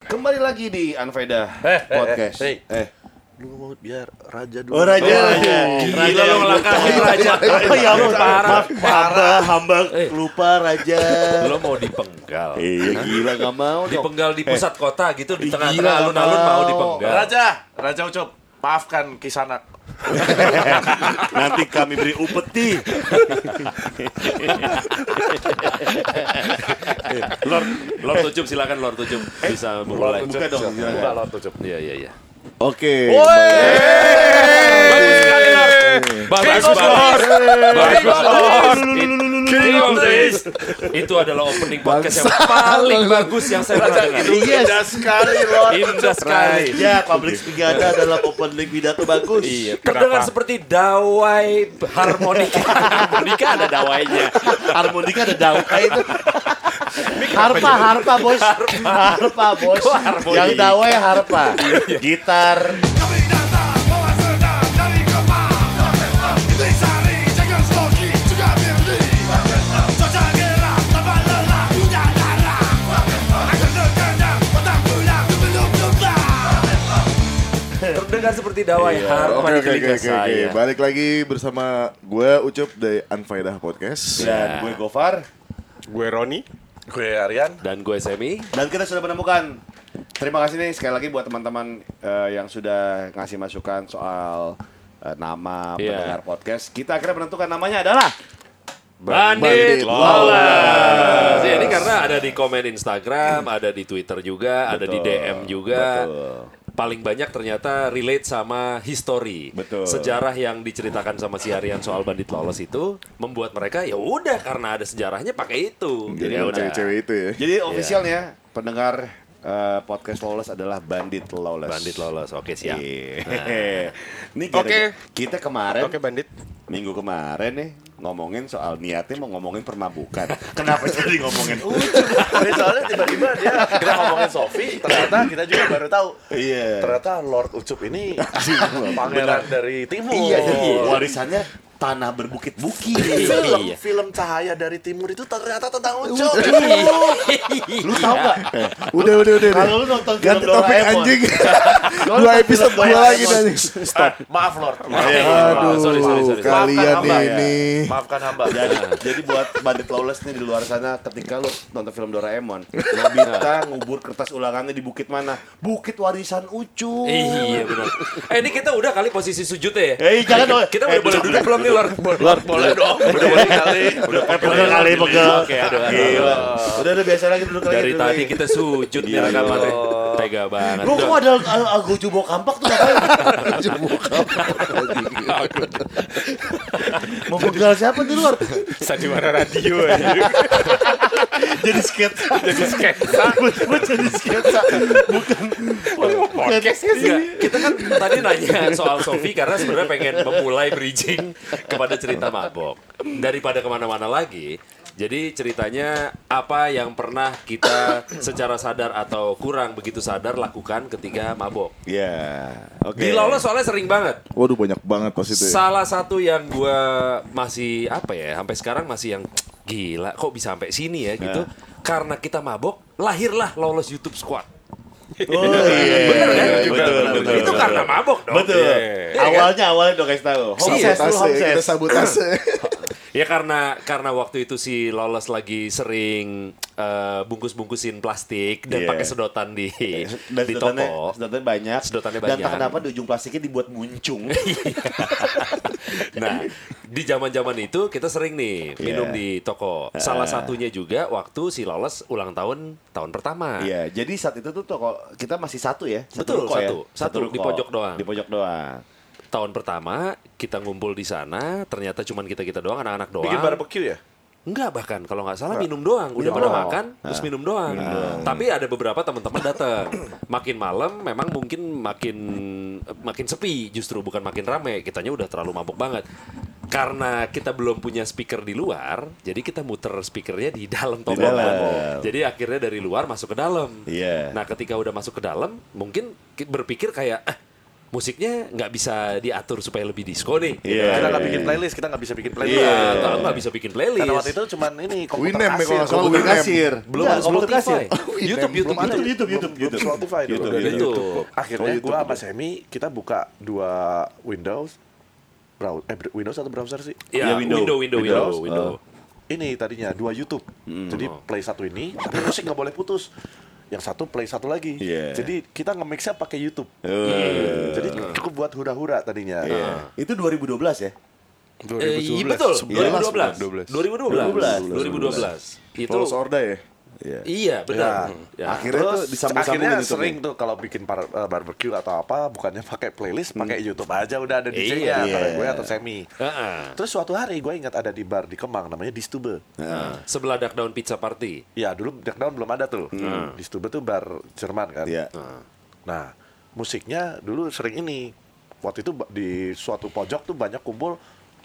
Kembali lagi di Anveda Podcast. eh, Eh, Lu mau biar raja dulu. Oh raja, Oh, raja. iya. Raja Gila, yang lu melangkahi lupa. raja. Oh, iya, lu parah. Hamba, hamba Eh. lupa raja. Lo mau dipenggal. Iya gila gak mau dong. Dipenggal di pusat kota gitu Ih, di tengah-tengah gila, alun-alun mau mau. dipenggal. Raja, Raja Ucup, maafkan Kisanak. Nanti kami beri upeti. Lord, Lord Tujuh silakan Lord Tujuh bisa memulai. Buka dong. Buka Lord Ucup. Iya iya iya. Oke. Bagus sekali Lord. Bagus bagus. Bagus Lord. King of this. Itu adalah opening podcast yang paling bagus yang saya pernah dengar. Yes. Indah sekali Lord. Indah sekali. Raja, Ya, public speaking Anda adalah open link pidato bagus. Iya, terdengar seperti dawai harmonika. harmonika ada dawainya. Harmonika ada dauka itu. harpa, harpa bos. Harpa bos. harmoni? Yang dawe harpa. Gitar. Terdengar seperti dawai harpa di Oke oke oke telinga oke, oke. saya. Balik lagi bersama gue Ucup dari Unfaedah Podcast. Dan Ya. gue Gofar Gue Roni. Gue Aryan. Dan gue Semi. dan kita sudah menemukan. Terima kasih nih sekali lagi buat teman-teman eh, yang sudah ngasih masukan soal eh, nama Iya. pendengar podcast. Kita akhirnya menentukan namanya adalah Bandit Bandit Lawless. Ya, ini karena ada di komen Instagram, Hmm. ada di Twitter juga, ada di DM juga. Paling banyak ternyata relate sama history. Betul. Sejarah yang diceritakan sama si Harian soal Bandit Lawless itu membuat mereka ya udah karena ada sejarahnya pakai itu. Jadi ya sama udah. cewek-cewek itu Eh, ya. iya. Jadi officialnya pendengar eh, podcast Lawless adalah Bandit Lawless. Bandit Lawless. Oke, siap. Iya. Nih gara- Oke. kita kemarin Oke bandit. minggu kemarin nih ngomongin soal niatnya mau ngomongin permabukan. Kenapa jadi ngomongin Ucup? Ini soalnya tiba-tiba dia kita ngomongin Sofi, ternyata kita juga baru tahu. Iya. Ternyata Lord Ucup ini pangeran dari timur. Iya, jadi warisannya tanah berbukit-bukit. Film, Iya. film cahaya dari timur itu ternyata tentang Ucup. Lu tahu nggak? Eh, udah udah udah. udah. Kalau lu nonton film Ganti topik Doraemon. anjing. dua episode dua lagi tadi. Stop. Maaf Lord. Iya, Aduh, sorry, sorry, sorry. kalian Maafkan hamba, ini. Maafkan hamba. Jadi, jadi buat bandit lawless nih di luar sana, ketika lu nonton film Doraemon, Nobita ngubur kertas ulangannya di bukit mana? Bukit warisan Ucup. Iya benar. Eh ini kita udah kali posisi sujudnya ya. Eh, jangan dong. Kita udah boleh duduk belum nih Lord? boleh dong. Udah boleh kali. Udah Pegel kali, pegel. Oke, aduh. Gila. Udah udah biasa lagi duduk lagi. Dari duduk tadi lagi. kita sujud nih ya. Iya, rekamannya. Tega banget. Lu kok ada Algo Jubo Kampak tuh ngapain? Mau begal siapa di luar? Sandiwara radio. anjing. Jadi sketsa. Jadi sketsa. Gue jadi sketsa. Podcast Iya, kita kan tadi nanya soal Sofi karena sebenarnya pengen memulai bridging kepada cerita mabok. Daripada kemana-mana lagi, jadi ceritanya apa yang pernah kita secara sadar atau kurang begitu sadar lakukan ketika mabok. Iya. Oke. Di Lawless soalnya sering banget. Waduh banyak banget pas gitu itu. Ya. Salah satu yang gua masih apa ya, sampai sekarang masih yang gila kok bisa sampai sini ya gitu. Nah. Karena kita mabok, lahirlah Lawless YouTube Squad. Oh iya. Bener kan? betul, betul, Itu betul. karena mabok dong. Iya, kan? Betul. Iya, kan? Awalnya awalnya dong guys tahu. Homses, lu Sabotase, Iya, ya, kita homses. sabotase. Ya karena karena waktu itu si Lolos lagi sering eh, bungkus-bungkusin plastik dan Iya. pakai sedotan di Dan di sedotannya, toko. sedotannya banyak. Sedotannya Dan tak banyak. Iya. kenapa di ujung plastiknya dibuat muncung. Nah, di zaman-zaman itu kita sering nih Iya. minum Ah. di toko. Salah satunya juga waktu si Lolos ulang tahun tahun pertama. Iya, jadi saat itu tuh toko kita masih satu ya, satu Betul, ruko ya. satu. Satu, di ruko. pojok doang. Di pojok doang. Tahun pertama kita ngumpul di sana, ternyata cuman kita-kita doang anak-anak doang. Bikin barbecue ya? Enggak bahkan kalau nggak salah minum doang. Udah pada doang. makan terus minum doang. Nah. Tapi ada beberapa teman-teman datang. makin malam memang mungkin makin makin sepi justru bukan makin rame. Kitanya udah terlalu mabuk banget. Karena kita belum punya speaker di luar, jadi kita muter speakernya di dalam tongkrongan. dalam. Jadi akhirnya dari luar masuk ke dalam. Iya. Nah, ketika udah masuk ke dalam, mungkin ki- berpikir kayak eh musiknya nggak bisa diatur supaya lebih disco nih. Iya. Kita nggak bikin playlist, kita nggak bisa bikin playlist. Iya, kalau nggak bisa bikin playlist. Karena waktu itu cuman ini komputer Winem ya kalau nggak salah, Komputer Winem. kasir. Belum Nggak, ada Spotify. kasir. YouTube, YouTube, Belum ada. YouTube, YouTube, YouTube, Belum YouTube. Spotify dulu. YouTube, Udah YouTube. gitu. YouTube. Akhirnya Oh, YouTube, gua sama YouTube. Semi kita buka dua Windows, browser, eh Windows atau browser sih? Ya, Ya, window. window, window, window, Windows, window. Ini tadinya dua YouTube. Jadi play satu ini, tapi musik nggak boleh putus. Yang satu play satu lagi. Iya. Jadi kita nge-mixnya pakai YouTube. Iya, Eh, Jadi cukup buat hura-hura tadinya. Iya. Itu 2012 ya? Eh, iya, betul. 2012. 2012. 2012. 2012. Itu Polos Orda ya? Iya. Iya, benar. Ya. Ya. Akhirnya tuh disambung-sambungin akhirnya YouTube-nya. sering tuh kalau bikin par- eh, barbecue atau apa bukannya pakai playlist Hmm. pakai YouTube aja udah ada Iya. DJ-nya antara gue atau Semi. Heeh. Terus suatu hari gue ingat ada di bar di Kemang namanya Distube. Sebelah Duckdown Pizza Party. Ya dulu Darkdown belum ada tuh. Distube tuh bar Jerman kan. Hmm. Iya. Nah musiknya dulu sering ini. Waktu itu ba- di suatu pojok tuh banyak kumpul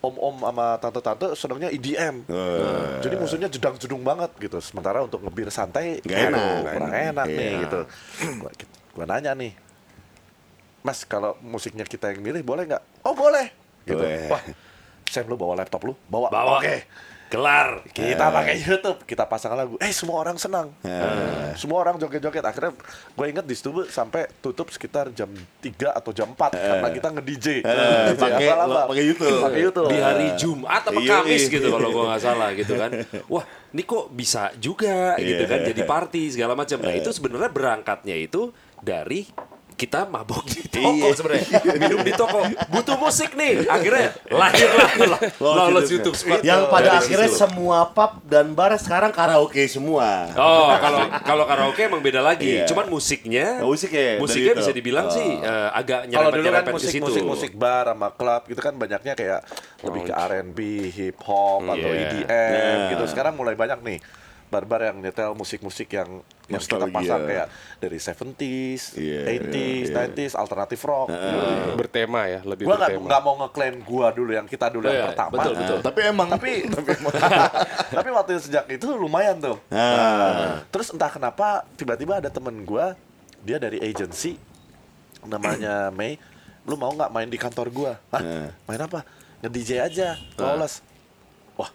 om-om sama tante-tante senangnya EDM. Eh. Jadi musuhnya jedang-jedung banget gitu. Sementara untuk ngebir santai Nggak aduh, enak. kurang Nggak enak nih Iya. gitu. Gua, gua nanya nih. Mas kalau musiknya kita yang milih boleh nggak? Oh boleh. Gitu. Boleh. Wah, Sam lu bawa laptop lu? Bawa. Bawa. Oke. Kelar. Eh. Kita pakai YouTube, kita pasang lagu. Eh semua orang senang. Ya. Eh, Semua orang joget-joget. Akhirnya gue inget di situ sampai tutup sekitar jam 3 atau jam 4 karena kita nge-DJ. DJ Eh. pakai- apa-apa. pakai YouTube. Pakai YouTube. di hari Jumat apa Iya, Kamis iya. gitu kalau gua nggak salah gitu kan. Wah, ini kok bisa juga Iya. gitu kan jadi party segala macam. Nah, itu sebenarnya berangkatnya itu dari kita mabok di Iya. toko sebenarnya. Minum di toko, butuh musik nih. Akhirnya lahirlah lah lolos YouTube spot. Yang pada Dari akhirnya situ. semua pub dan bar sekarang karaoke semua. Oh, kalau kalau karaoke emang beda lagi. Iya. Cuman musiknya, Nah, musiknya dari musiknya itu. Oh. bisa dibilang sih eh, agak Kalau dulu kan nyerempet-nyerempet ke musik, situ. musik musik bar sama klub gitu kan banyaknya kayak lebih ke R&B, hip hop atau Iya. EDM gitu. Sekarang mulai banyak nih barbar yang nyetel musik-musik yang yang kita Nostalgia. pasang kayak dari 70s, Iya, 80s, iya, 90s, alternatif rock. gitu. Bertema ya, lebih Gua nggak bertema. nggak mau ngeklaim gua dulu yang kita dulu Iya, yang pertama. betul, betul. Tapi emang Tapi tapi waktu sejak itu lumayan tuh. Nah. Terus entah kenapa tiba-tiba ada temen gua dia dari agency namanya Mei, lu mau nggak main di kantor gua? Hah? Main apa? Nge DJ aja, lolos. Wah,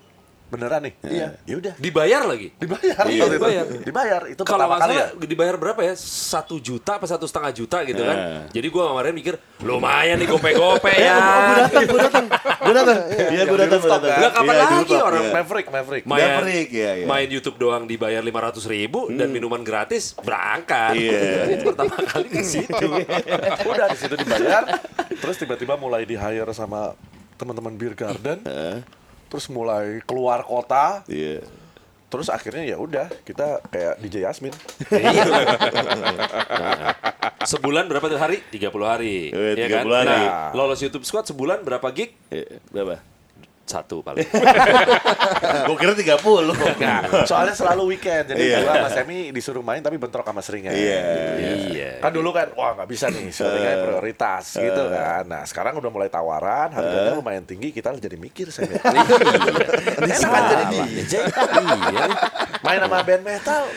beneran nih? Iya. Ya Nah. udah, Dibayar lagi. dibayar. Iya, waktu itu. dibayar. Dibayar. Itu kalau pertama nggak kali salah ya. dibayar berapa ya satu juta apa satu setengah juta gitu kan jadi gua kemarin mikir lumayan nih gope-gope ya gue datang, gue datang, gue datang. Iya, gue datang, Yang di gue rooftop, datang. kan? Lah, kapan Iya, di lagi rooftop, orang iya. Maverick, Maverick. main Maverick, ya, ya. main YouTube doang dibayar lima ratus ribu dan minuman gratis berangkat Iya. Itu pertama kali ke situ udah di situ dibayar terus tiba-tiba mulai di hire sama teman-teman beer garden terus mulai keluar kota Iya. terus akhirnya ya udah kita kayak DJ Yasmin sebulan berapa tuh hari 30 hari Eh, ya 30 hari. Nah, lolos YouTube Squad sebulan berapa gig Berapa? satu paling Gue kira 30. soalnya selalu weekend jadi Iya. gua sama Semi disuruh main tapi bentrok sama seringnya Iya. iya kan dulu kan wah nggak bisa nih seringnya prioritas gitu kan nah sekarang udah mulai tawaran harganya lumayan tinggi kita jadi mikir Semi enak kan jadi DJ iya main sama band metal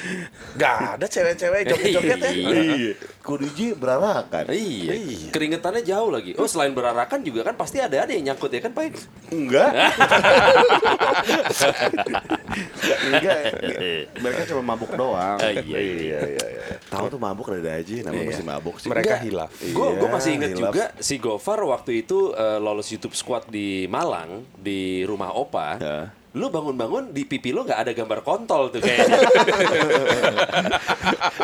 nggak ada cewek-cewek joget-joget ya Iya. Kuduji berarakan. Iya. Keringetannya jauh lagi. Oh, selain berarakan juga kan pasti ada ada yang nyangkut ya kan, Pak? Enggak. Enggak. Iya, ya. Mereka cuma mabuk doang. iya, iya. Ah, iya, iya. Tahu tuh mabuk ada aja, namanya masih mabuk sih. Mereka hilaf. Gue Iya, masih ingat hilaf. juga si Gofar waktu itu eh, lolos YouTube Squad di Malang di rumah Opa. Lu bangun-bangun di pipi lu nggak ada gambar kontol tuh kayaknya.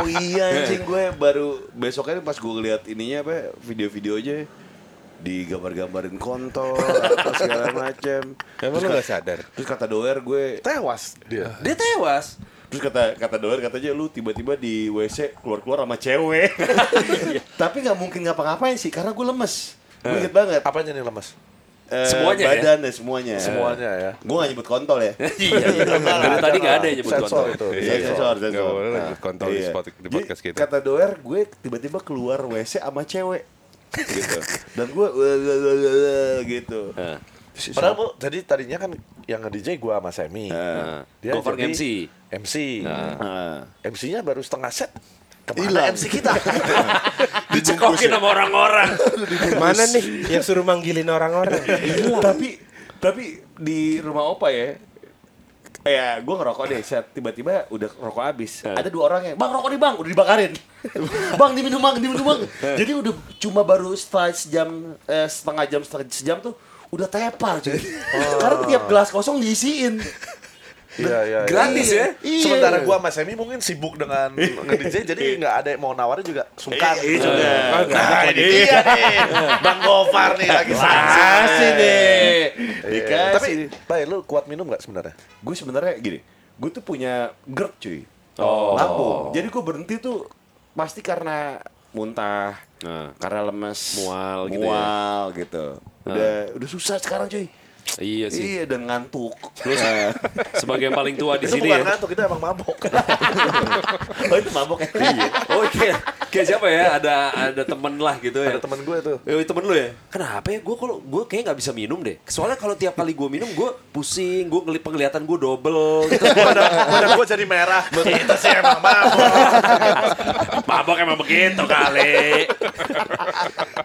Oh iya anjing gue baru besoknya pas gue ngeliat ininya apa video-videonya digambar-gambarin kontol apa segala macem. Emang lu nggak sadar? Terus kata doer gue, tewas dia Dia tewas. terus kata kata doer katanya lu tiba-tiba di WC keluar-keluar sama cewek. Tapi nggak mungkin ngapa-ngapain sih karena gue lemes. Gue Eh, inget banget. apanya nih lemas Eh, Semuanya ya? badan ya? semuanya. Eh. Semuanya ya. kan, Gue nggak nyebut kontol ya. iya, iya. Dari tadi nggak ada yang nyebut Sensor kontol. itu. Iya, sensor, sensor. Nggak boleh Nah, lanjut kontol oh, di iya. spot- di Jadi, podcast Gitu. kita. Kata doer, gue tiba-tiba keluar WC sama cewek. gitu. Dan gue gitu. Eh. Terus Padahal bu, jadi tadinya kan yang nge-DJ gua sama Eh. ah, Semi. Ah, Dia Gofar jadi MC. Nah. Ah, MC. MC-nya baru setengah set. Hilang. Kemana MC kita? Di dicekokin sama orang-orang. Mana nih yang suruh manggilin orang-orang? tapi tapi di rumah opa ya Ya, gue ngerokok deh. Saat tiba-tiba udah rokok habis, ada dua orang yang, bang rokok nih bang, udah dibakarin. bang diminum bang, diminum bang. Jadi udah cuma baru setelah sejam, eh, setengah jam, setengah sejam tuh udah tepar cuy. Karena tiap gelas kosong diisiin. Iya, iya. Gratis ya? Iya. Sementara gua sama Semi mungkin sibuk dengan nge-DJ jadi nggak ada yang mau nawarin juga sungkan. Iya, iya juga. Nah, ini. Iya nih. Bang Gofar nih lagi Iya, Kasih deh. Dikasih. Tapi, Bay, lu kuat minum nggak sebenarnya? gue sebenarnya gini gue tuh punya GERD cuy oh. lambung jadi gue berhenti tuh pasti karena muntah Nah. karena lemes Mual gitu ya. mual gitu udah udah susah sekarang cuy Iya sih. iya dan ngantuk Terus Iya. sebagai yang paling tua di Itu sini bukan ya. ngantuk, itu emang mabok. oh itu mabok ya Oke. Iya. Oh, Kayak siapa ya? Ada ada temen lah gitu ya. Ada temen gue tuh. Eh, temen lu ya? Kenapa ya? Gue kalau gue kayak nggak bisa minum deh. Soalnya kalau tiap kali gue minum, gue pusing, gue ngeliat penglihatan gue double. Gitu. Badan gue jadi merah. Itu sih emang mabok. Mabok emang begitu kali.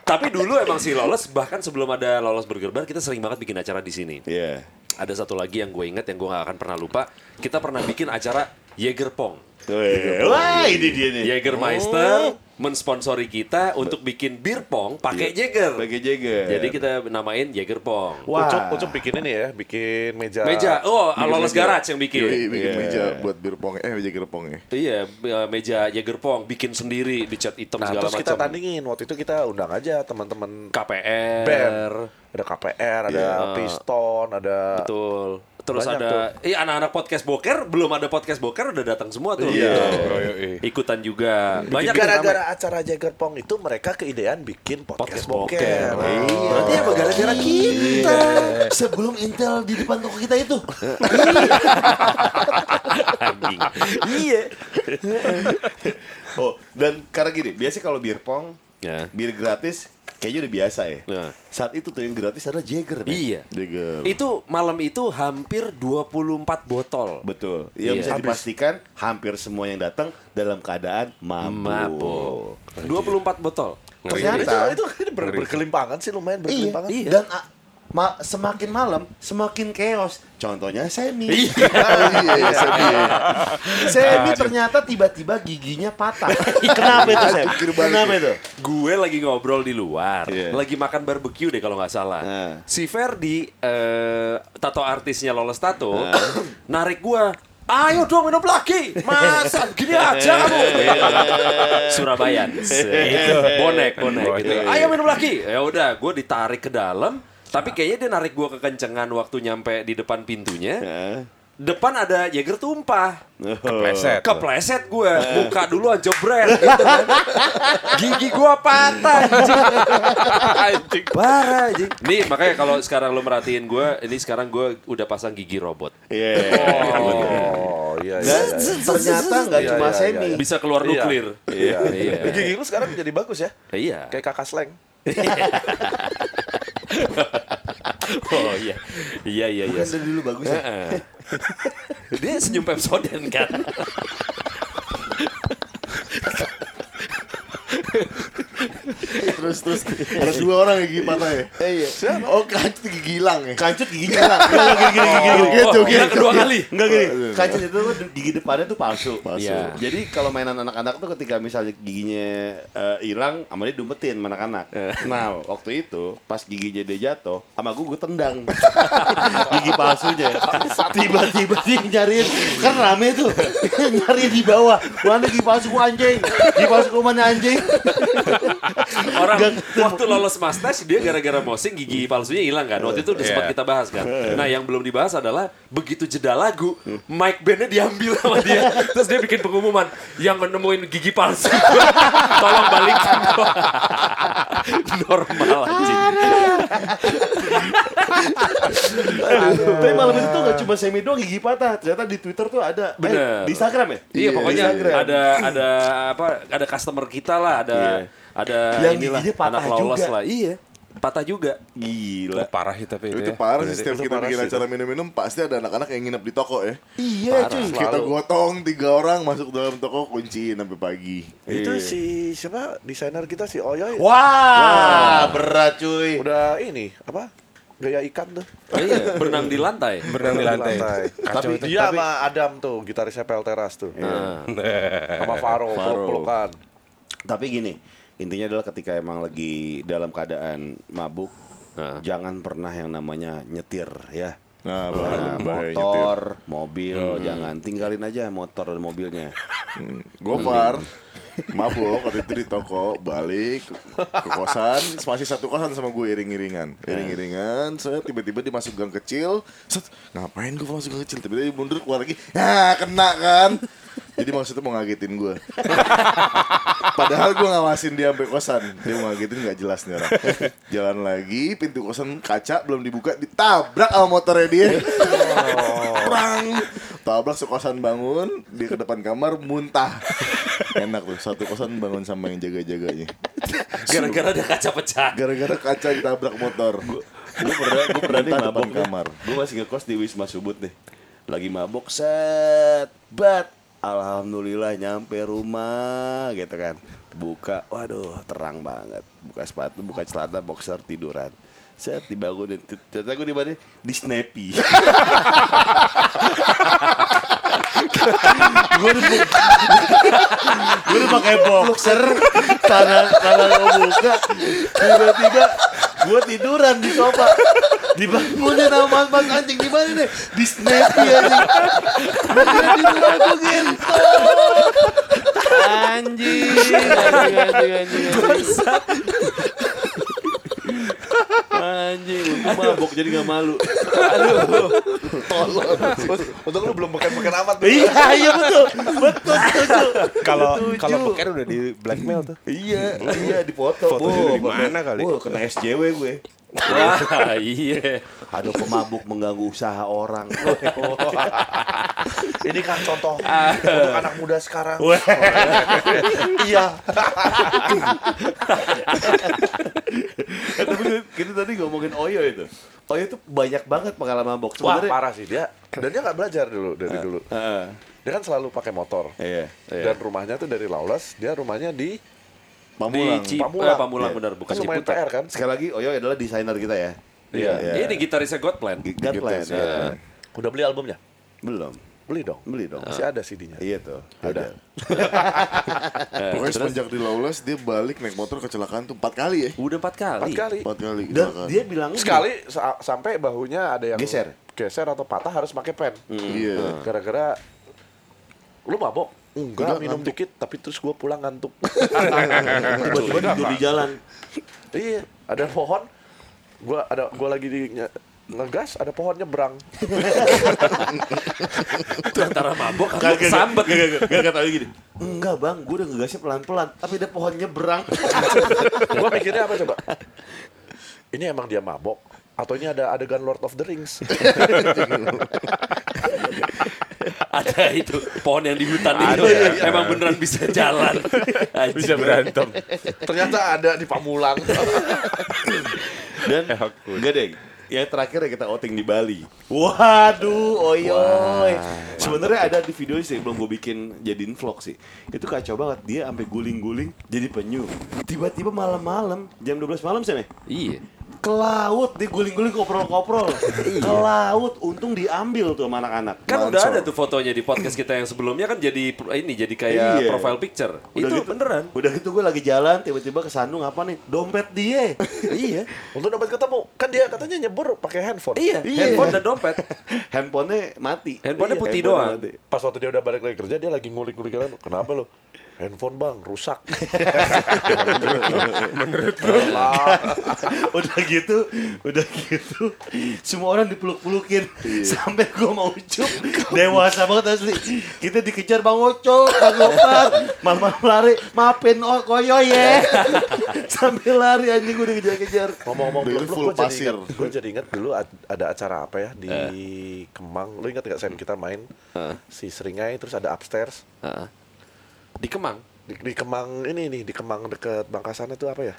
Tapi dulu emang si lolos bahkan sebelum ada lolos bergerbar kita sering banget bikin acara di sini. iya Ada satu lagi yang gue inget yang gue gak akan pernah lupa. Kita pernah bikin acara Jägerpong. iya. Wah, ini dia nih. Iya. Jägermeister mensponsori kita untuk bikin bir pong pakai Jäger. Pakai Jäger. Jadi kita namain Jäger Pong. Wah. Ucup, Ucup bikin ini ya, bikin meja. Meja, oh lolos meja. Iya. garage yang bikin. Iya. Yoi, bikin meja buat bir pong, eh meja gerpong ya. Iya, eh, meja Jäger Pong bikin sendiri dicat hitam Nah, segala terus kita macam. tandingin. Waktu itu kita undang aja teman-teman KPR. band. Ada KPR, ada Piston, ada... Betul. Terus Banyak ada iya anak-anak podcast boker belum ada podcast boker udah datang semua tuh. Iya. Oh, yoi. Ikutan juga. Banyak Gara-gara acara Jagger Pong itu mereka keidean bikin Podcast podcast, boker. Iya. boker. Iya. Nah, Berarti ya gara-gara Iya. kita sebelum Intel di depan toko kita itu. anjing. iya. Oh, dan karena gini, biasanya kalau bir pong, Ya. bir gratis kayaknya udah biasa ya. Nah. Saat itu tuh yang gratis adalah Jäger. men. Iya. Jager. Itu malam itu hampir 24 botol. Betul. Yang Iya. bisa dipastikan hampir semua yang datang dalam keadaan mabuk. Mabuk. 24 botol. itu, Ternyata itu ber- berkelimpangan sih lumayan berkelimpangan. iya. dan a- ma- semakin malam semakin chaos. Contohnya Semi. Iya, sedih. Semi ternyata tiba-tiba giginya patah. Kenapa itu, Sep? Jungkir balik. Kenapa itu? Gue lagi ngobrol di luar, Iya. lagi makan barbeque deh kalau nggak salah. Nah. Si Ferdi, eh, tato artisnya lolos tato, Nah. narik gue. Ayo dong minum lagi, masa gini Iya. aja kamu. Surabaya, gitu. bonek, bonek. Gitu. Ayo minum lagi. Ya udah, gue ditarik ke dalam. Tapi kayaknya dia narik gue kekencengan waktu nyampe di depan pintunya. Eh. Depan ada Jager tumpah. Kepleset. Kepleset gue, muka duluan jebret gitu kan. Gigi gue patah anjing. Parah anjing. Nih makanya kalau sekarang lo merhatiin gue, ini sekarang gue udah pasang gigi robot. Iya. Oh, iya, iya, Dan iya. ternyata nggak Iya, cuma iya, Semi. iya. Bisa keluar Iya. nuklir. Iya. Iya. Gigi lu sekarang jadi bagus ya. Iya. Kayak kakak sleng. Oh iya. Iya iya iya. Kan dari dulu bagus ya. Heeh. Dia senyum Pepsodent kan. Terus terus ada dua orang yang gigi patah ya. Iya. Oh kancut gigi hilang ya. Kancut giginya hilang. Nggak, nggak, gini, gini, gini. Joget, Oh, joget, yang kedua kali. Enggak gini, kancut itu tuh gigi depannya tuh palsu. Palsu. Iya. Jadi kalau mainan anak-anak tuh ketika misalnya giginya eh, hilang, sama dia dumpetin sama anak-anak. Iya. Nah, waktu itu pas giginya dia jatuh, sama gue gue tendang. gigi palsunya. Tiba-tiba dia nyariin, kan rame tuh. nyariin di bawah. Mana gigi palsu gua anjing? Gigi palsu gua mana anjing? Orang waktu lolos mustache dia gara-gara mosing gigi palsunya hilang kan. Waktu itu udah sempat Iya. kita bahas kan. Nah, yang belum dibahas adalah begitu jeda lagu, mic bandnya diambil sama dia. Terus dia bikin pengumuman yang menemuin gigi palsu. gua, Tolong balikin gua." Normal anjing. Tapi malam itu gak cuma semi doang gigi patah. Ternyata di Twitter tuh ada. Bener. Eh, di Instagram ya? Iya, pokoknya Instagram. ada ada apa ada customer kita lah, ada ada Iya. Yang inilah giginya patah anak lolos juga. Iya. lah. Iya. patah juga. Gila. parah sih tapi itu itu. ya. parah sih setiap Iya. Itu kita parah bikin sih, acara minum-minum pasti ada anak-anak yang nginep di toko ya. Iya cuy. Kita gotong tiga orang masuk dalam toko kunciin sampai pagi. Itu si siapa desainer kita si Oyoy Wah, Ah, berat cuy. udah ini apa gaya ikan tuh. Iya, berenang di lantai. Berenang di lantai. tapi Kacau itu. dia Iya. sama Adam tuh gitarisnya Pel Teras tuh. Nah, Sama Faro, Faro. kan. peluk-pelukan. Tapi gini, intinya adalah ketika emang lagi dalam keadaan mabuk, Nah. jangan pernah yang namanya nyetir ya. Nah, Nah, Hmm. bahaya, bahaya nyetir. motor, mobil, jangan tinggalin aja motor dan mobilnya. Gofar mabuk waktu itu di toko balik ke kosan masih satu kosan sama gue iring-iringan Eh. iring-iringan saya tiba-tiba dia masuk gang kecil set, ngapain gue masuk gang kecil tiba-tiba dia mundur keluar lagi ah kena kan jadi maksudnya mau ngagetin gue padahal gue ngawasin dia sampai kosan dia mau ngagetin nggak jelas nih orang jalan lagi pintu kosan kaca belum dibuka ditabrak sama motornya dia Prang. Tabrak sekosan bangun, dia ke depan kamar muntah. Enak tuh, satu kosan bangun sama yang jaga-jaganya. gara-gara ada kaca pecah. Gara-gara kaca ditabrak motor. gue pernah gue pernah nih Muntah mabok depan kamar kamar. gue masih ngekos di wisma subut nih lagi mabok set bat alhamdulillah nyampe rumah gitu kan buka waduh terang banget buka sepatu buka celana boxer tiduran set dibangunin ternyata gue di mana di snappy gue udah gue udah pakai boxer tanah tanah gue buka tiba-tiba gue tiduran di sofa dibangunin sama mas anjing di mana nih di snappy anjing gue kira tidur aku gitu Anjing, anjing, anjing, anjing. Anjing, untung mabok jadi gak malu. Untung lu belum beken-beken amat. iya iya betul betul setuju Kalau Setuju. kalau beken udah di blackmail tuh. Hmm. iya iya dipoto Foto Wow, dari bener. mana kali? Wow, kena SJW gue Wah, iya. ada pemabuk mengganggu usaha orang Oh, Ini kan contoh untuk anak muda sekarang. iya. tapi kita tadi ngomongin Oyo itu Oyo itu banyak banget pengalaman mabok Wah sebenarnya parah sih dia. Dan dia nggak belajar dulu dari dulu. Heeh, Dia kan selalu pakai motor. iya Dan rumahnya tuh dari Laules, dia rumahnya di Pamulang. Di Cip- eh, Pamulang benar, bukan Kan lumayan Ciputat. PR kan? sekali lagi Oyo adalah desainer kita ya Iya. Ini di gitarisnya iya. God Plan. God bless Gitu, ya. Udah beli albumnya? belum Beli dong. Beli dong. Masih ada CD-nya. iya tuh Ada. ada Pokoknya semenjak di Lawless dia balik naik motor kecelakaan tuh empat kali ya. Udah empat Iya. Empat kali. kali. Empat kali dan kecelakaan. dia gitu. bilang Sekali sa- sampai bahunya ada yang Geser. geser Hmm. atau patah harus pakai pen. Nah, Iya. Gara-gara lu mabok? Enggak, Enggak, minum ngantuk. dikit tapi terus gua pulang ngantuk. tiba-tiba tidur di jalan iya, ada pohon. Gua ada gua lagi di nge- ngegas ada pohon nyebrang. Itu antara Ah, mabok atau kesambet. enggak bang gue udah ngegasnya pelan-pelan tapi ada pohon nyebrang gua mikirnya apa coba? Ini emang dia mabok atau ini ada adegan Lord of the Rings? Ada itu pohon yang di hutan itu. iya. Emang beneran bisa jalan. Anjing. Bisa berantem. Ternyata ada di Pamulang. dan gede yang terakhir ya kita outing di Bali waduh oyoy sebenarnya ada di video sih belum gue bikin jadiin vlog sih itu kacau banget dia sampai guling-guling jadi penyu tiba-tiba malam-malam jam 12 malam sih Meh? Iya. ke laut diguling-guling koprol-koprol ke laut untung diambil tuh sama anak-anak Kan Mansor. udah ada tuh fotonya di podcast kita yang sebelumnya kan jadi pro- ini jadi kayak Iya. profile picture. Udah itu gitu- beneran. udah gitu gue lagi jalan tiba-tiba kesandung apa nih dompet dia iya. Untuk dapat ketemu, kan dia katanya nyebur pakai handphone. Iya, handphone dan dompet. handphonenya mati Iya, Handphonenya putih handphonenya doang. mati. Pas waktu dia udah balik lagi kerja, dia lagi ngulik-ngulik kan. Kenapa lo? Handphone bang, rusak. Menurut lo? udah gitu udah gitu semua orang dipeluk-pelukin sampai gue mau ucup dewasa banget asli kita dikejar bang Oco bang Gopar malam-malam lari maafin oh, koyo ya sambil lari anjing gue dikejar-kejar Ngomong-ngomong Dulu peluk-peluk, full gua jadi pasir. ingat- Gua jadi inget dulu ad- ada acara apa ya di Eh. Kemang. Lo inget gak Sam kita main si Seringai terus ada upstairs Heeh. Di Kemang. di, di Kemang ini nih di Kemang deket Bangkasan itu apa ya?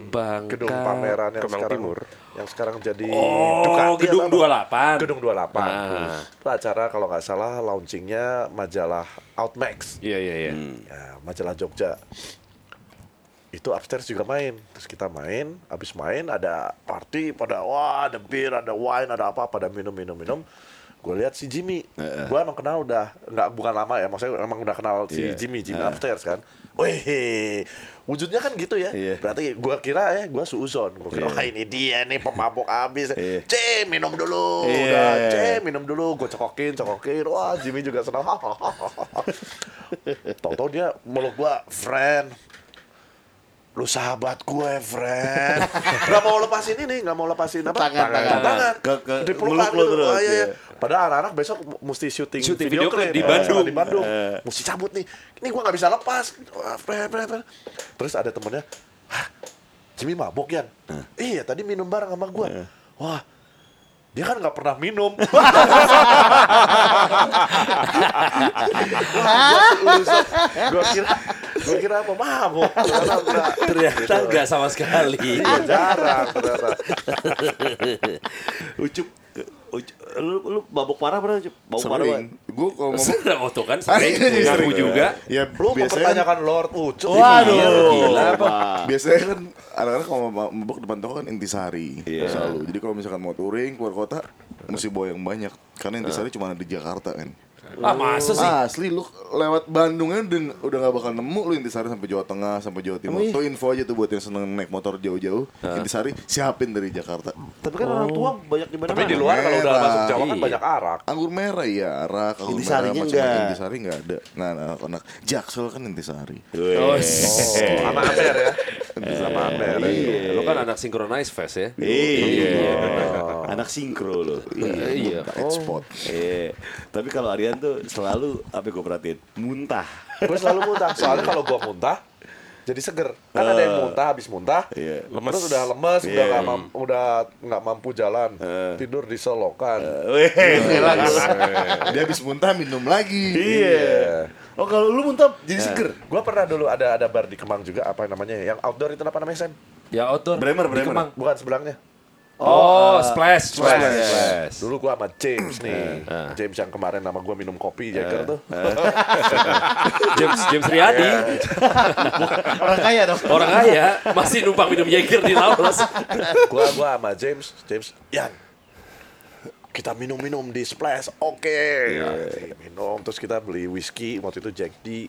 Bangka. gedung pameran yang Kemang sekarang Timur. yang sekarang jadi Oh, Ducati gedung atau apa? 28. gedung 28 Ah. Itu acara kalau nggak salah launchingnya majalah Outmax Iya iya iya. ya, majalah Jogja itu upstairs juga main terus kita main habis main ada party pada wah ada bir ada wine ada apa pada minum minum minum gue lihat si Jimmy gue emang kenal udah nggak bukan lama ya maksudnya emang udah kenal si Iya. Jimmy Jimmy upstairs kan Wih, wujudnya kan gitu ya. Iya. Berarti gue kira ya, gue suuzon. Gue kira, Iya. wah ini dia nih pemabok abis. Iya. C, minum dulu. Iya. Udah, C, minum dulu. Gue cokokin, cokokin. Wah, Jimmy juga senang. Tau-tau dia meluk gua, friend. Lu sahabat gue, friend. gak mau lepasin ini, gak mau lepasin apa? Tangan, tangan. tangan. Ke- ke- Dipelukan meluk lu gitu. terus, Ah, iya, iya. iya. Padahal anak-anak besok mesti syuting, Syuting video clip di Eh, Bandung. Di Bandung. Iya. Mesti cabut nih. Ini gua gak bisa lepas. Wah, friend, friend, friend. Terus ada temennya, "Hah, Jimmy mabok, Yan? Iya, tadi minum bareng sama gua. Iya. Wah, dia kan nggak pernah minum. gue kira gue kira apa mabok ternyata enggak. Ternyata Gitu. nggak sama sekali. Iya, jarang ternyata Ucup, Ucup, lu lu mabok parah pernah Ucup? Mabok parah Sering. banget. Gue kalau ngomong Sudah auto kan sering Iya. ngaku juga. Ya, biasanya lu kan, mempertanyakan Lord Ucup Waduh. Iya, gila. biasanya kan anak-anak kalau mau mabuk depan toko kan intisari selalu. Jadi kalau misalkan mau touring keluar kota mesti bawa yang banyak karena intisari cuma ada di Jakarta kan. Ah masa sih? Asli lu lewat Bandung aja udah- udah gak bakal nemu lu Intisari sampai Jawa Tengah sampai Jawa Timur. Tuh info aja tuh buat yang seneng naik motor jauh-jauh. Intisari siapin dari Jakarta. tapi kan orang tua banyak di mana Tapi di luar kalau udah masuk Jawa kan Iya. banyak arak Anggur merah ya, arak, anggur merah Intisarinya macam-macam. enggak. Intisari enggak ada. Nah, anak-anak Jaksel kan Intisari. Oh, sama Amer ya sama Amer ya. Iya. Lu kan anak synchronize fest ya. Iya. Anak sinkro lo. Iya. Export. Iya. Tapi kalau Aryan tuh selalu apa yang gue perhatiin? Muntah. gue selalu muntah soalnya kalau gue muntah jadi seger kan ada yang muntah habis muntah Iya. Lemes. terus udah lemes udah nggak mam- udah nggak mampu jalan tidur di selokan Weh, relax. Dia habis muntah minum lagi. Iya. Oh kalau lu muntah jadi seger. gue pernah dulu ada ada bar di Kemang juga apa namanya ya, yang outdoor itu apa namanya Sam Ya outdoor. Bremer, Di Bremer. Kemang. bukan sebelahnya Oh, splash, splash. iya. splash. Dulu gua sama James nih. James yang kemarin nama gua minum kopi Jager tuh. James James Riyadi, Orang kaya dong. orang kaya masih numpang minum Jaeger di Laos. gua gua sama James, James, Yan. Kita minum-minum di Splash. Oke. Minum terus kita beli whisky waktu itu Jack D.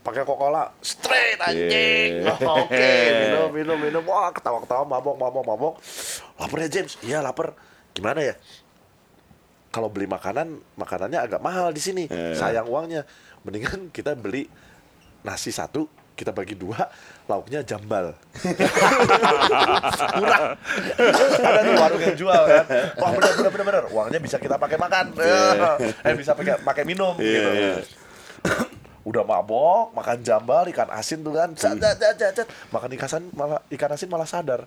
Pakai Coca-Cola straight anjing. Oke, minum minum minum. Wah, ketawa-ketawa mabok mabok mabok. Lapar ya James? Iya, lapar. Gimana ya? Kalau beli makanan, makanannya agak mahal di sini. Sayang uangnya. Mendingan kita beli nasi satu, kita bagi dua, lauknya jambal. murah ada tuh warung yang jual kan wah bener bener bener bener uangnya bisa kita pakai makan eh bisa pakai pakai minum gitu udah mabok makan jambal ikan asin tuh kan Cet, cet, cet, cet, cet. makan ikan asin malah ikan asin malah sadar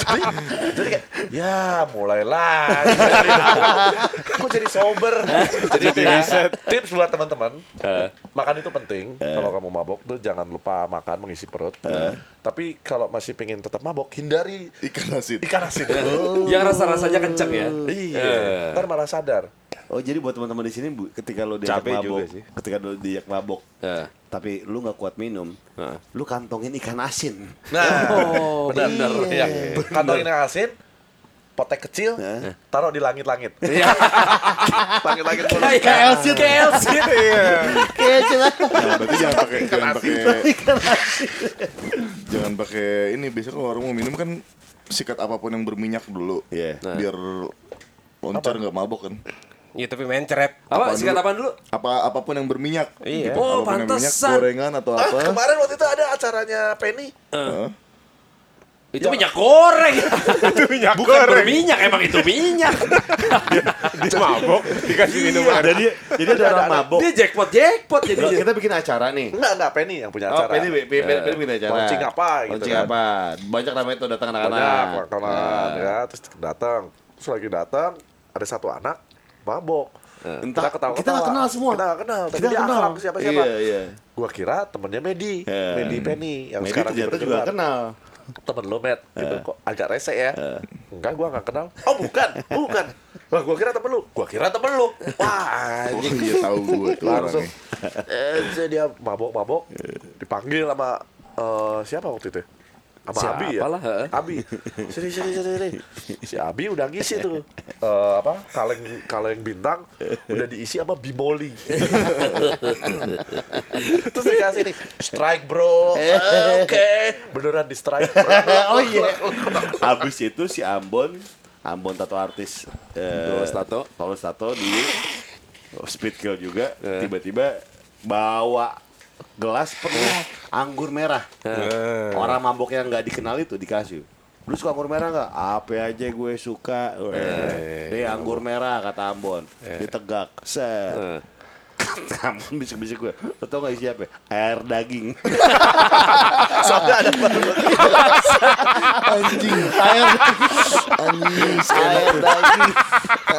jadi, jadi kayak ya mulailah aku jadi sober jadi tips, tips buat teman-teman makan itu penting kalau kamu mabok tuh jangan lupa makan mengisi perut tapi kalau masih pengen tetap mabok hindari Ikan asin. ikan asin Yang rasa-rasanya kenceng ya. iya ntar malah sadar Oh jadi buat teman-teman di sini bu, ketika lo diajak Capek mabok, juga sih. ketika lo diajak mabok, Eh. tapi lu nggak kuat minum, lu kantongin ikan asin. Nah, Oh, benar. iya. Ya. Kantongin yang asin, potek kecil, Iya. taruh di langit-langit. Iya. Langit-langit mulu. Kayak KLC, KLC. Kayak jelas. Nah, berarti jangan pakai jangan pakai jangan pakai ini biasanya kalau orang mau minum kan sikat apapun yang berminyak dulu. Iya. Nah. Biar loncar nggak mabok kan. Iya tapi mencret. Apa Apaan sikat dulu? apaan dulu? Apa apapun yang berminyak. Gitu. Iya. Oh, apapun yang berminyak, pantesan. gorengan atau Ah, apa. kemarin waktu itu ada acaranya Penny. Hah? Itu minyak goreng. Itu minyak Bukan berminyak, emang itu minyak. Dia mabok dikasih minuman. jadi jadi ada orang mabok. Dia jackpot, jackpot Kalau jadi. kita bikin acara nih. Enggak, enggak Penny yang punya Oh, acara. Iya. Penny, Penny, Penny, Penny bikin acara. Launching apa gitu Launching kan. apa? Banyak ramai tuh datang nah. Banyak anak-anak. makanan ya, terus datang. Terus lagi datang, ada satu anak mabok. Nah. Entah Kita ketawa-ketawa. kita nggak kenal semua. Kita nggak kenal, tapi Kita nggak dia kenal. akrab ke siapa-siapa. Iya, iya. Gua kira temennya Medi, Iya. Medi Penny yang Medi sekarang ternyata gitu jadi juga penyebar. kenal. Temen lu, Matt, gitu. kok agak rese ya. Enggak, gua nak kenal. Oh, bukan, bukan. Wah, gua kira temen lu. Gua kira temen lu. Wah, Oh, anjing. iya tahu gue itu langsung orangnya. eh, jadi dia mabok-mabok dipanggil sama eh, siapa waktu itu ya? sama Siapa Abi ya lah, heeh. Abi sini sini sini sini si Abi udah ngisi tuh Eh, apa kaleng kaleng bintang udah diisi sama Bimoli terus dikasih nih strike bro Eh, oke beneran di strike bro. oh iya. Abis itu si Ambon, Ambon tato artis eh, Tulus tato. Tulus tato di speed kill juga tiba-tiba bawa gelas penuh anggur merah. Orang mabok yang nggak dikenal itu dikasih. Lu suka anggur merah nggak? Apa aja gue suka. Eh, Nih anggur merah kata Ambon. Ditegak. Set. Ambon bisik-bisik gue. Lo tau gak isi apa? ya?" Air daging. soalnya ada Anjing. Air. Anjing. Air daging.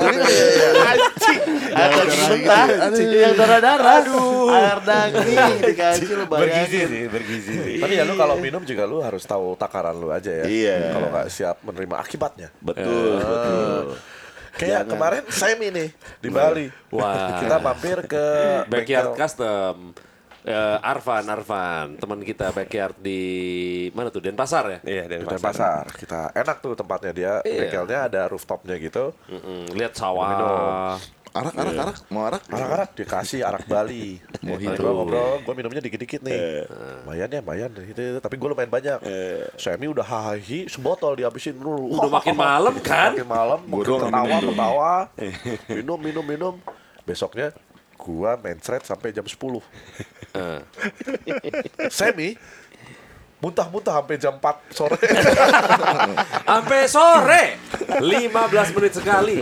Air daging Eh. mentah. Yang darah-darah. Air daging dikasih lu Bergizi bayangin. sih, bergizi sih. tapi ya lu kalau minum juga lu harus tahu takaran lu aja ya Iya. kalau nggak siap menerima akibatnya Betul, betul. Kayak Jangan. kemarin saya ini di Bali. Wah. Kita mampir ke Backyard bengkel. Custom. Eh, Arvan, Arvan, teman kita backyard di mana tuh Denpasar ya? Iya, dari Di pasar. pasar. Kita enak tuh tempatnya dia. Iya. Bengkelnya ada rooftopnya gitu. Mm-mm, lihat sawah. Arak, arak, arak. Mau arak? Arak-arak dikasih arak Bali. Oh, Mojito. gitu. Gue ngobrol, gue minumnya dikit-dikit Eh. nih. Lumayan ya, lumayan. Gitu, tapi gue lumayan banyak. Semi udah hahi, sebotol dihabisin dulu. Udah makin malam kan? Makin malam, Gua doang makin ketawa, minum. ketawa. Minum, minum, minum. Besoknya gua mencret sampai jam 10. Eh. Semi muntah-muntah sampai jam 4 sore. Sampai sore 15 menit sekali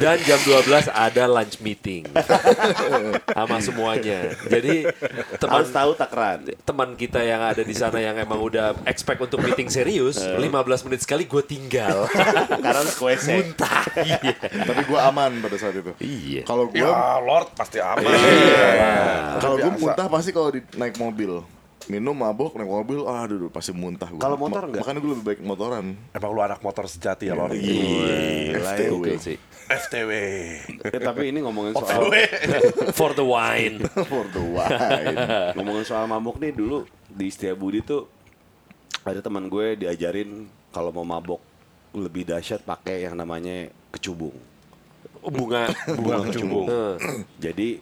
Dan jam 12 ada lunch meeting Sama semuanya Jadi teman Harus tahu takaran. teman kita yang ada di sana yang emang udah expect untuk meeting serius 15 menit sekali gue tinggal Karena harus kuese. Muntah Iya. Tapi gue aman pada saat itu. Iya. Kalau gue, ya Lord pasti aman. kalau gue Biasa. muntah pasti kalau di naik mobil. Minum mabok naik mobil, aduh aduh, pasti muntah gue. Kalau motor nggak? Makanya gue lebih baik motoran. Emang lu anak motor sejati ya Lord. Iya. Iya Gila ya. Gokil sih. FTW. Eh, Tapi ini ngomongin soal For the wine For the wine. ngomongin soal mabuk nih dulu di Setiabudi tuh ada teman gue diajarin kalau mau mabok lebih dahsyat pakai yang namanya kecubung. Bunga Bunga kecubung. Jadi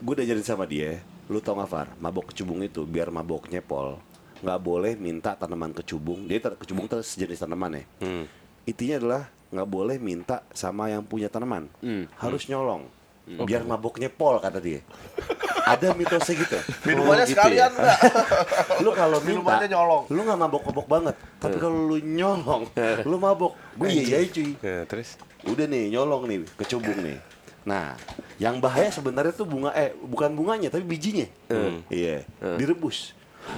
gue diajarin sama dia, lu tau gak Far, mabok kecubung itu biar maboknya pol nggak boleh minta tanaman kecubung. Dia tar- kecubung itu sejenis tanaman ya. Intinya adalah nggak boleh minta sama yang punya tanaman, harus nyolong biar maboknya pol kata dia. Ada mitosnya gitu. Minumannya Oh, gitu sekalian ya. enggak? Lu kalau minta, Minumannya nyolong. lu nggak mabok-mabok banget. Tapi kalau lu nyolong, lu mabok. Gue iya iya cuy Ya, terus udah nih nyolong nih kecubung nih nah yang bahaya sebenarnya tuh bunga eh bukan bunganya tapi bijinya iya direbus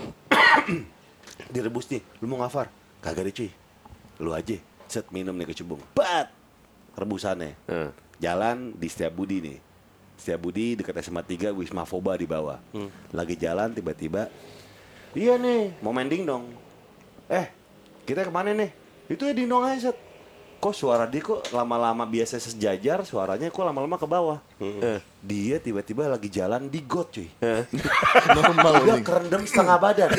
direbus nih lu mau ngafar kagak deh cuy lu aja set minum nih kecubung bat rebusannya Hmm. jalan di setiap budi nih setiap budi dekat SMA 3 Wisma Foba di bawah lagi jalan tiba-tiba iya nih mau mending dong eh kita kemana nih itu ya dindong aja set kok suara dia kok lama-lama biasa sejajar suaranya kok lama-lama ke bawah Eh, dia tiba-tiba lagi jalan di got cuy Normal dia nih. kerendam setengah badan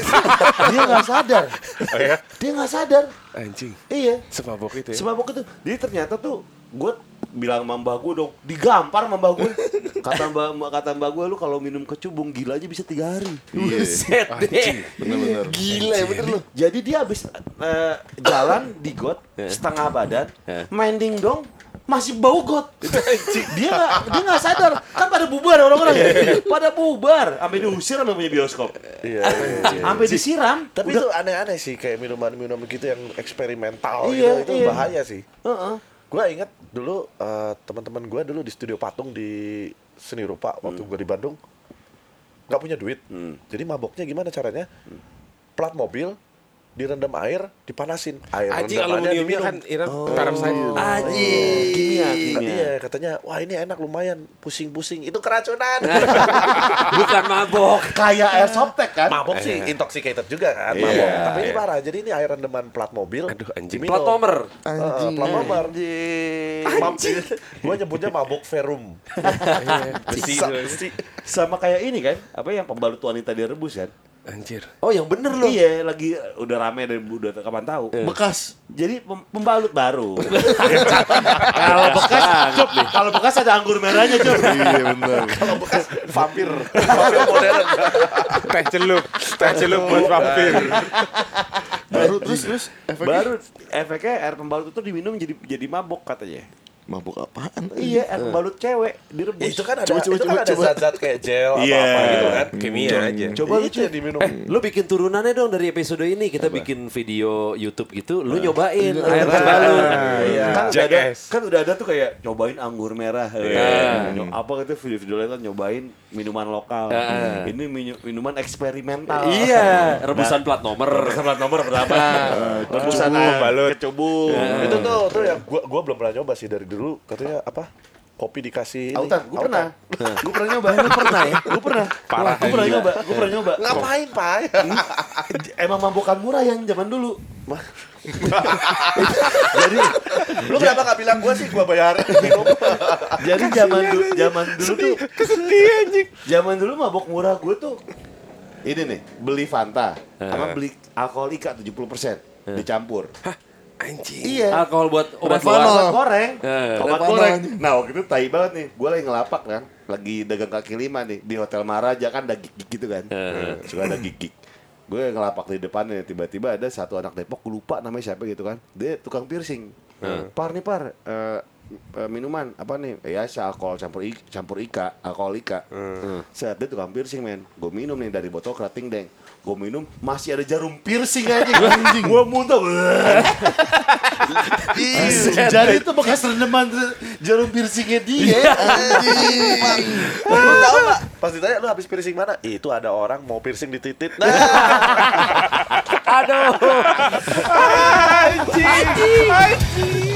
dia nggak sadar dia nggak sadar anjing. iya Semabok itu ya. semabok itu dia ternyata tuh gue bilang sama mbak gue dong digampar sama mbak gue kata mbak mbak- kata mbak gue lu kalau minum kecubung gila aja bisa tiga hari Iya. Buset deh Bener-bener. Gila ya bener lu. Jadi dia habis eh, jalan di got setengah badan, main dingdong masih bau got. dia nggak dia nggak sadar kan pada bubar orang-orang ya. Pada bubar sampai diusir sama punya bioskop. Iya. Sampai disiram. Tapi Udah- itu aneh-aneh sih kayak minuman-minuman gitu yang eksperimental Iya, gitu itu iya. bahaya sih. Heeh. Gue inget dulu eh, teman-teman gue dulu di studio patung di seni rupa waktu Hmm. gue di Bandung nggak punya duit. Jadi maboknya gimana caranya? Plat mobil direndam air, dipanasin. Air Aji rendamannya aluminiumnya diminum. kan iya. Iran Oh. taraf saya. Aji. Oh, Kimia, kimia. Iya, katanya, wah ini enak lumayan, pusing-pusing. Itu keracunan. Bukan mabok. Kayak air softtek kan? mabok sih, intoxicated juga kan, Iya. mabok. Tapi ini Iya. parah, jadi ini air rendaman plat mobil. Aduh, anjing. diminum. Plat nomor. Eh, Plat nomor. Anjing. Gue nyebutnya mabok ferum. Besi, besi. Sama kayak ini kan? Apa yang pembalut wanita direbus kan? Anjir. Oh, yang bener loh. Iya, lagi udah rame dan udah kapan tahu. Bekas. Jadi pem- pembalut baru. Ah, kalau bekas, Cup, kalau bekas ada anggur merahnya cup. Iya benar. Vampir. Vampir modern. Teh celup. Teh celup buat vampir. Baru terus terus efeknya Baru efeknya air pembalut itu diminum jadi jadi mabok katanya. mabuk apaan? Iya, air pembalut cewek direbus. Ya, itu kan ada, Coba, coba, itu coba, kan ada coba. zat-zat kayak gel apa Iya. apa gitu kan. Kimia aja. Coba lu yang diminum. Lu bikin turunannya dong dari episode ini. Kita bikin video YouTube gitu. Lu nyobain Iya. air pembalut. Iya. Kan udah, ada, Jagas. kan udah ada tuh kayak nyobain anggur merah, ya. Nyo- apa gitu video-video lain kan nyobain minuman lokal. Ah. Ini minu- minuman eksperimental. Iya, rebusan plat nomor. Nah. Rebusan plat nomor pertama. Rebusan Ah, Pembalut. kecubung. Itu Ah. tuh tuh ya gua gua belum pernah nyoba sih dari dulu katanya apa? Kopi dikasih ini. Autan, gue Autan. pernah. Gue pernah nyoba. Lu pernah ya? Iya. Gue pernah. Parah. Gue pernah nyoba. Gue pernah nyoba. Ngapain, Pak? Emang mabokan murah yang zaman dulu. Lu kenapa gak bilang gua sih gua bayarin minum? Iya. Jadi zaman dulu, zaman dulu tuh, Kesedih anjing. zaman dulu mabok murah gue tuh Ini nih. beli Fanta sama beli alkohol Ika 70% dicampur. Anjing. Iya. Alkohol buat obat Obat luar. goreng. Eh. Obat Obat goreng. panah. Nah, waktu itu tai banget nih. Gue lagi ngelapak kan, lagi dagang kaki lima nih di Hotel Maharaja kan ada gig gitu kan. Suka ada gig Gue ngelapak di depannya tiba-tiba ada satu anak Depok gue lupa namanya siapa gitu kan. Dia tukang piercing. Par nih par, eh, eh, minuman apa nih? Ya, alkohol campur i- campur ika, alkohol ika. Saat dia tukang piercing men, gue minum nih dari botol kerating deng. Gue minum masih ada jarum piercing aja. gue muntah. Ih, Jari itu bekas rendaman jarum piercingnya dia. Lu tahu gak? Pas ditanya lu habis piercing mana? Itu ada orang mau piercing di titit. Nah, Aduh. Anjing. Anjing.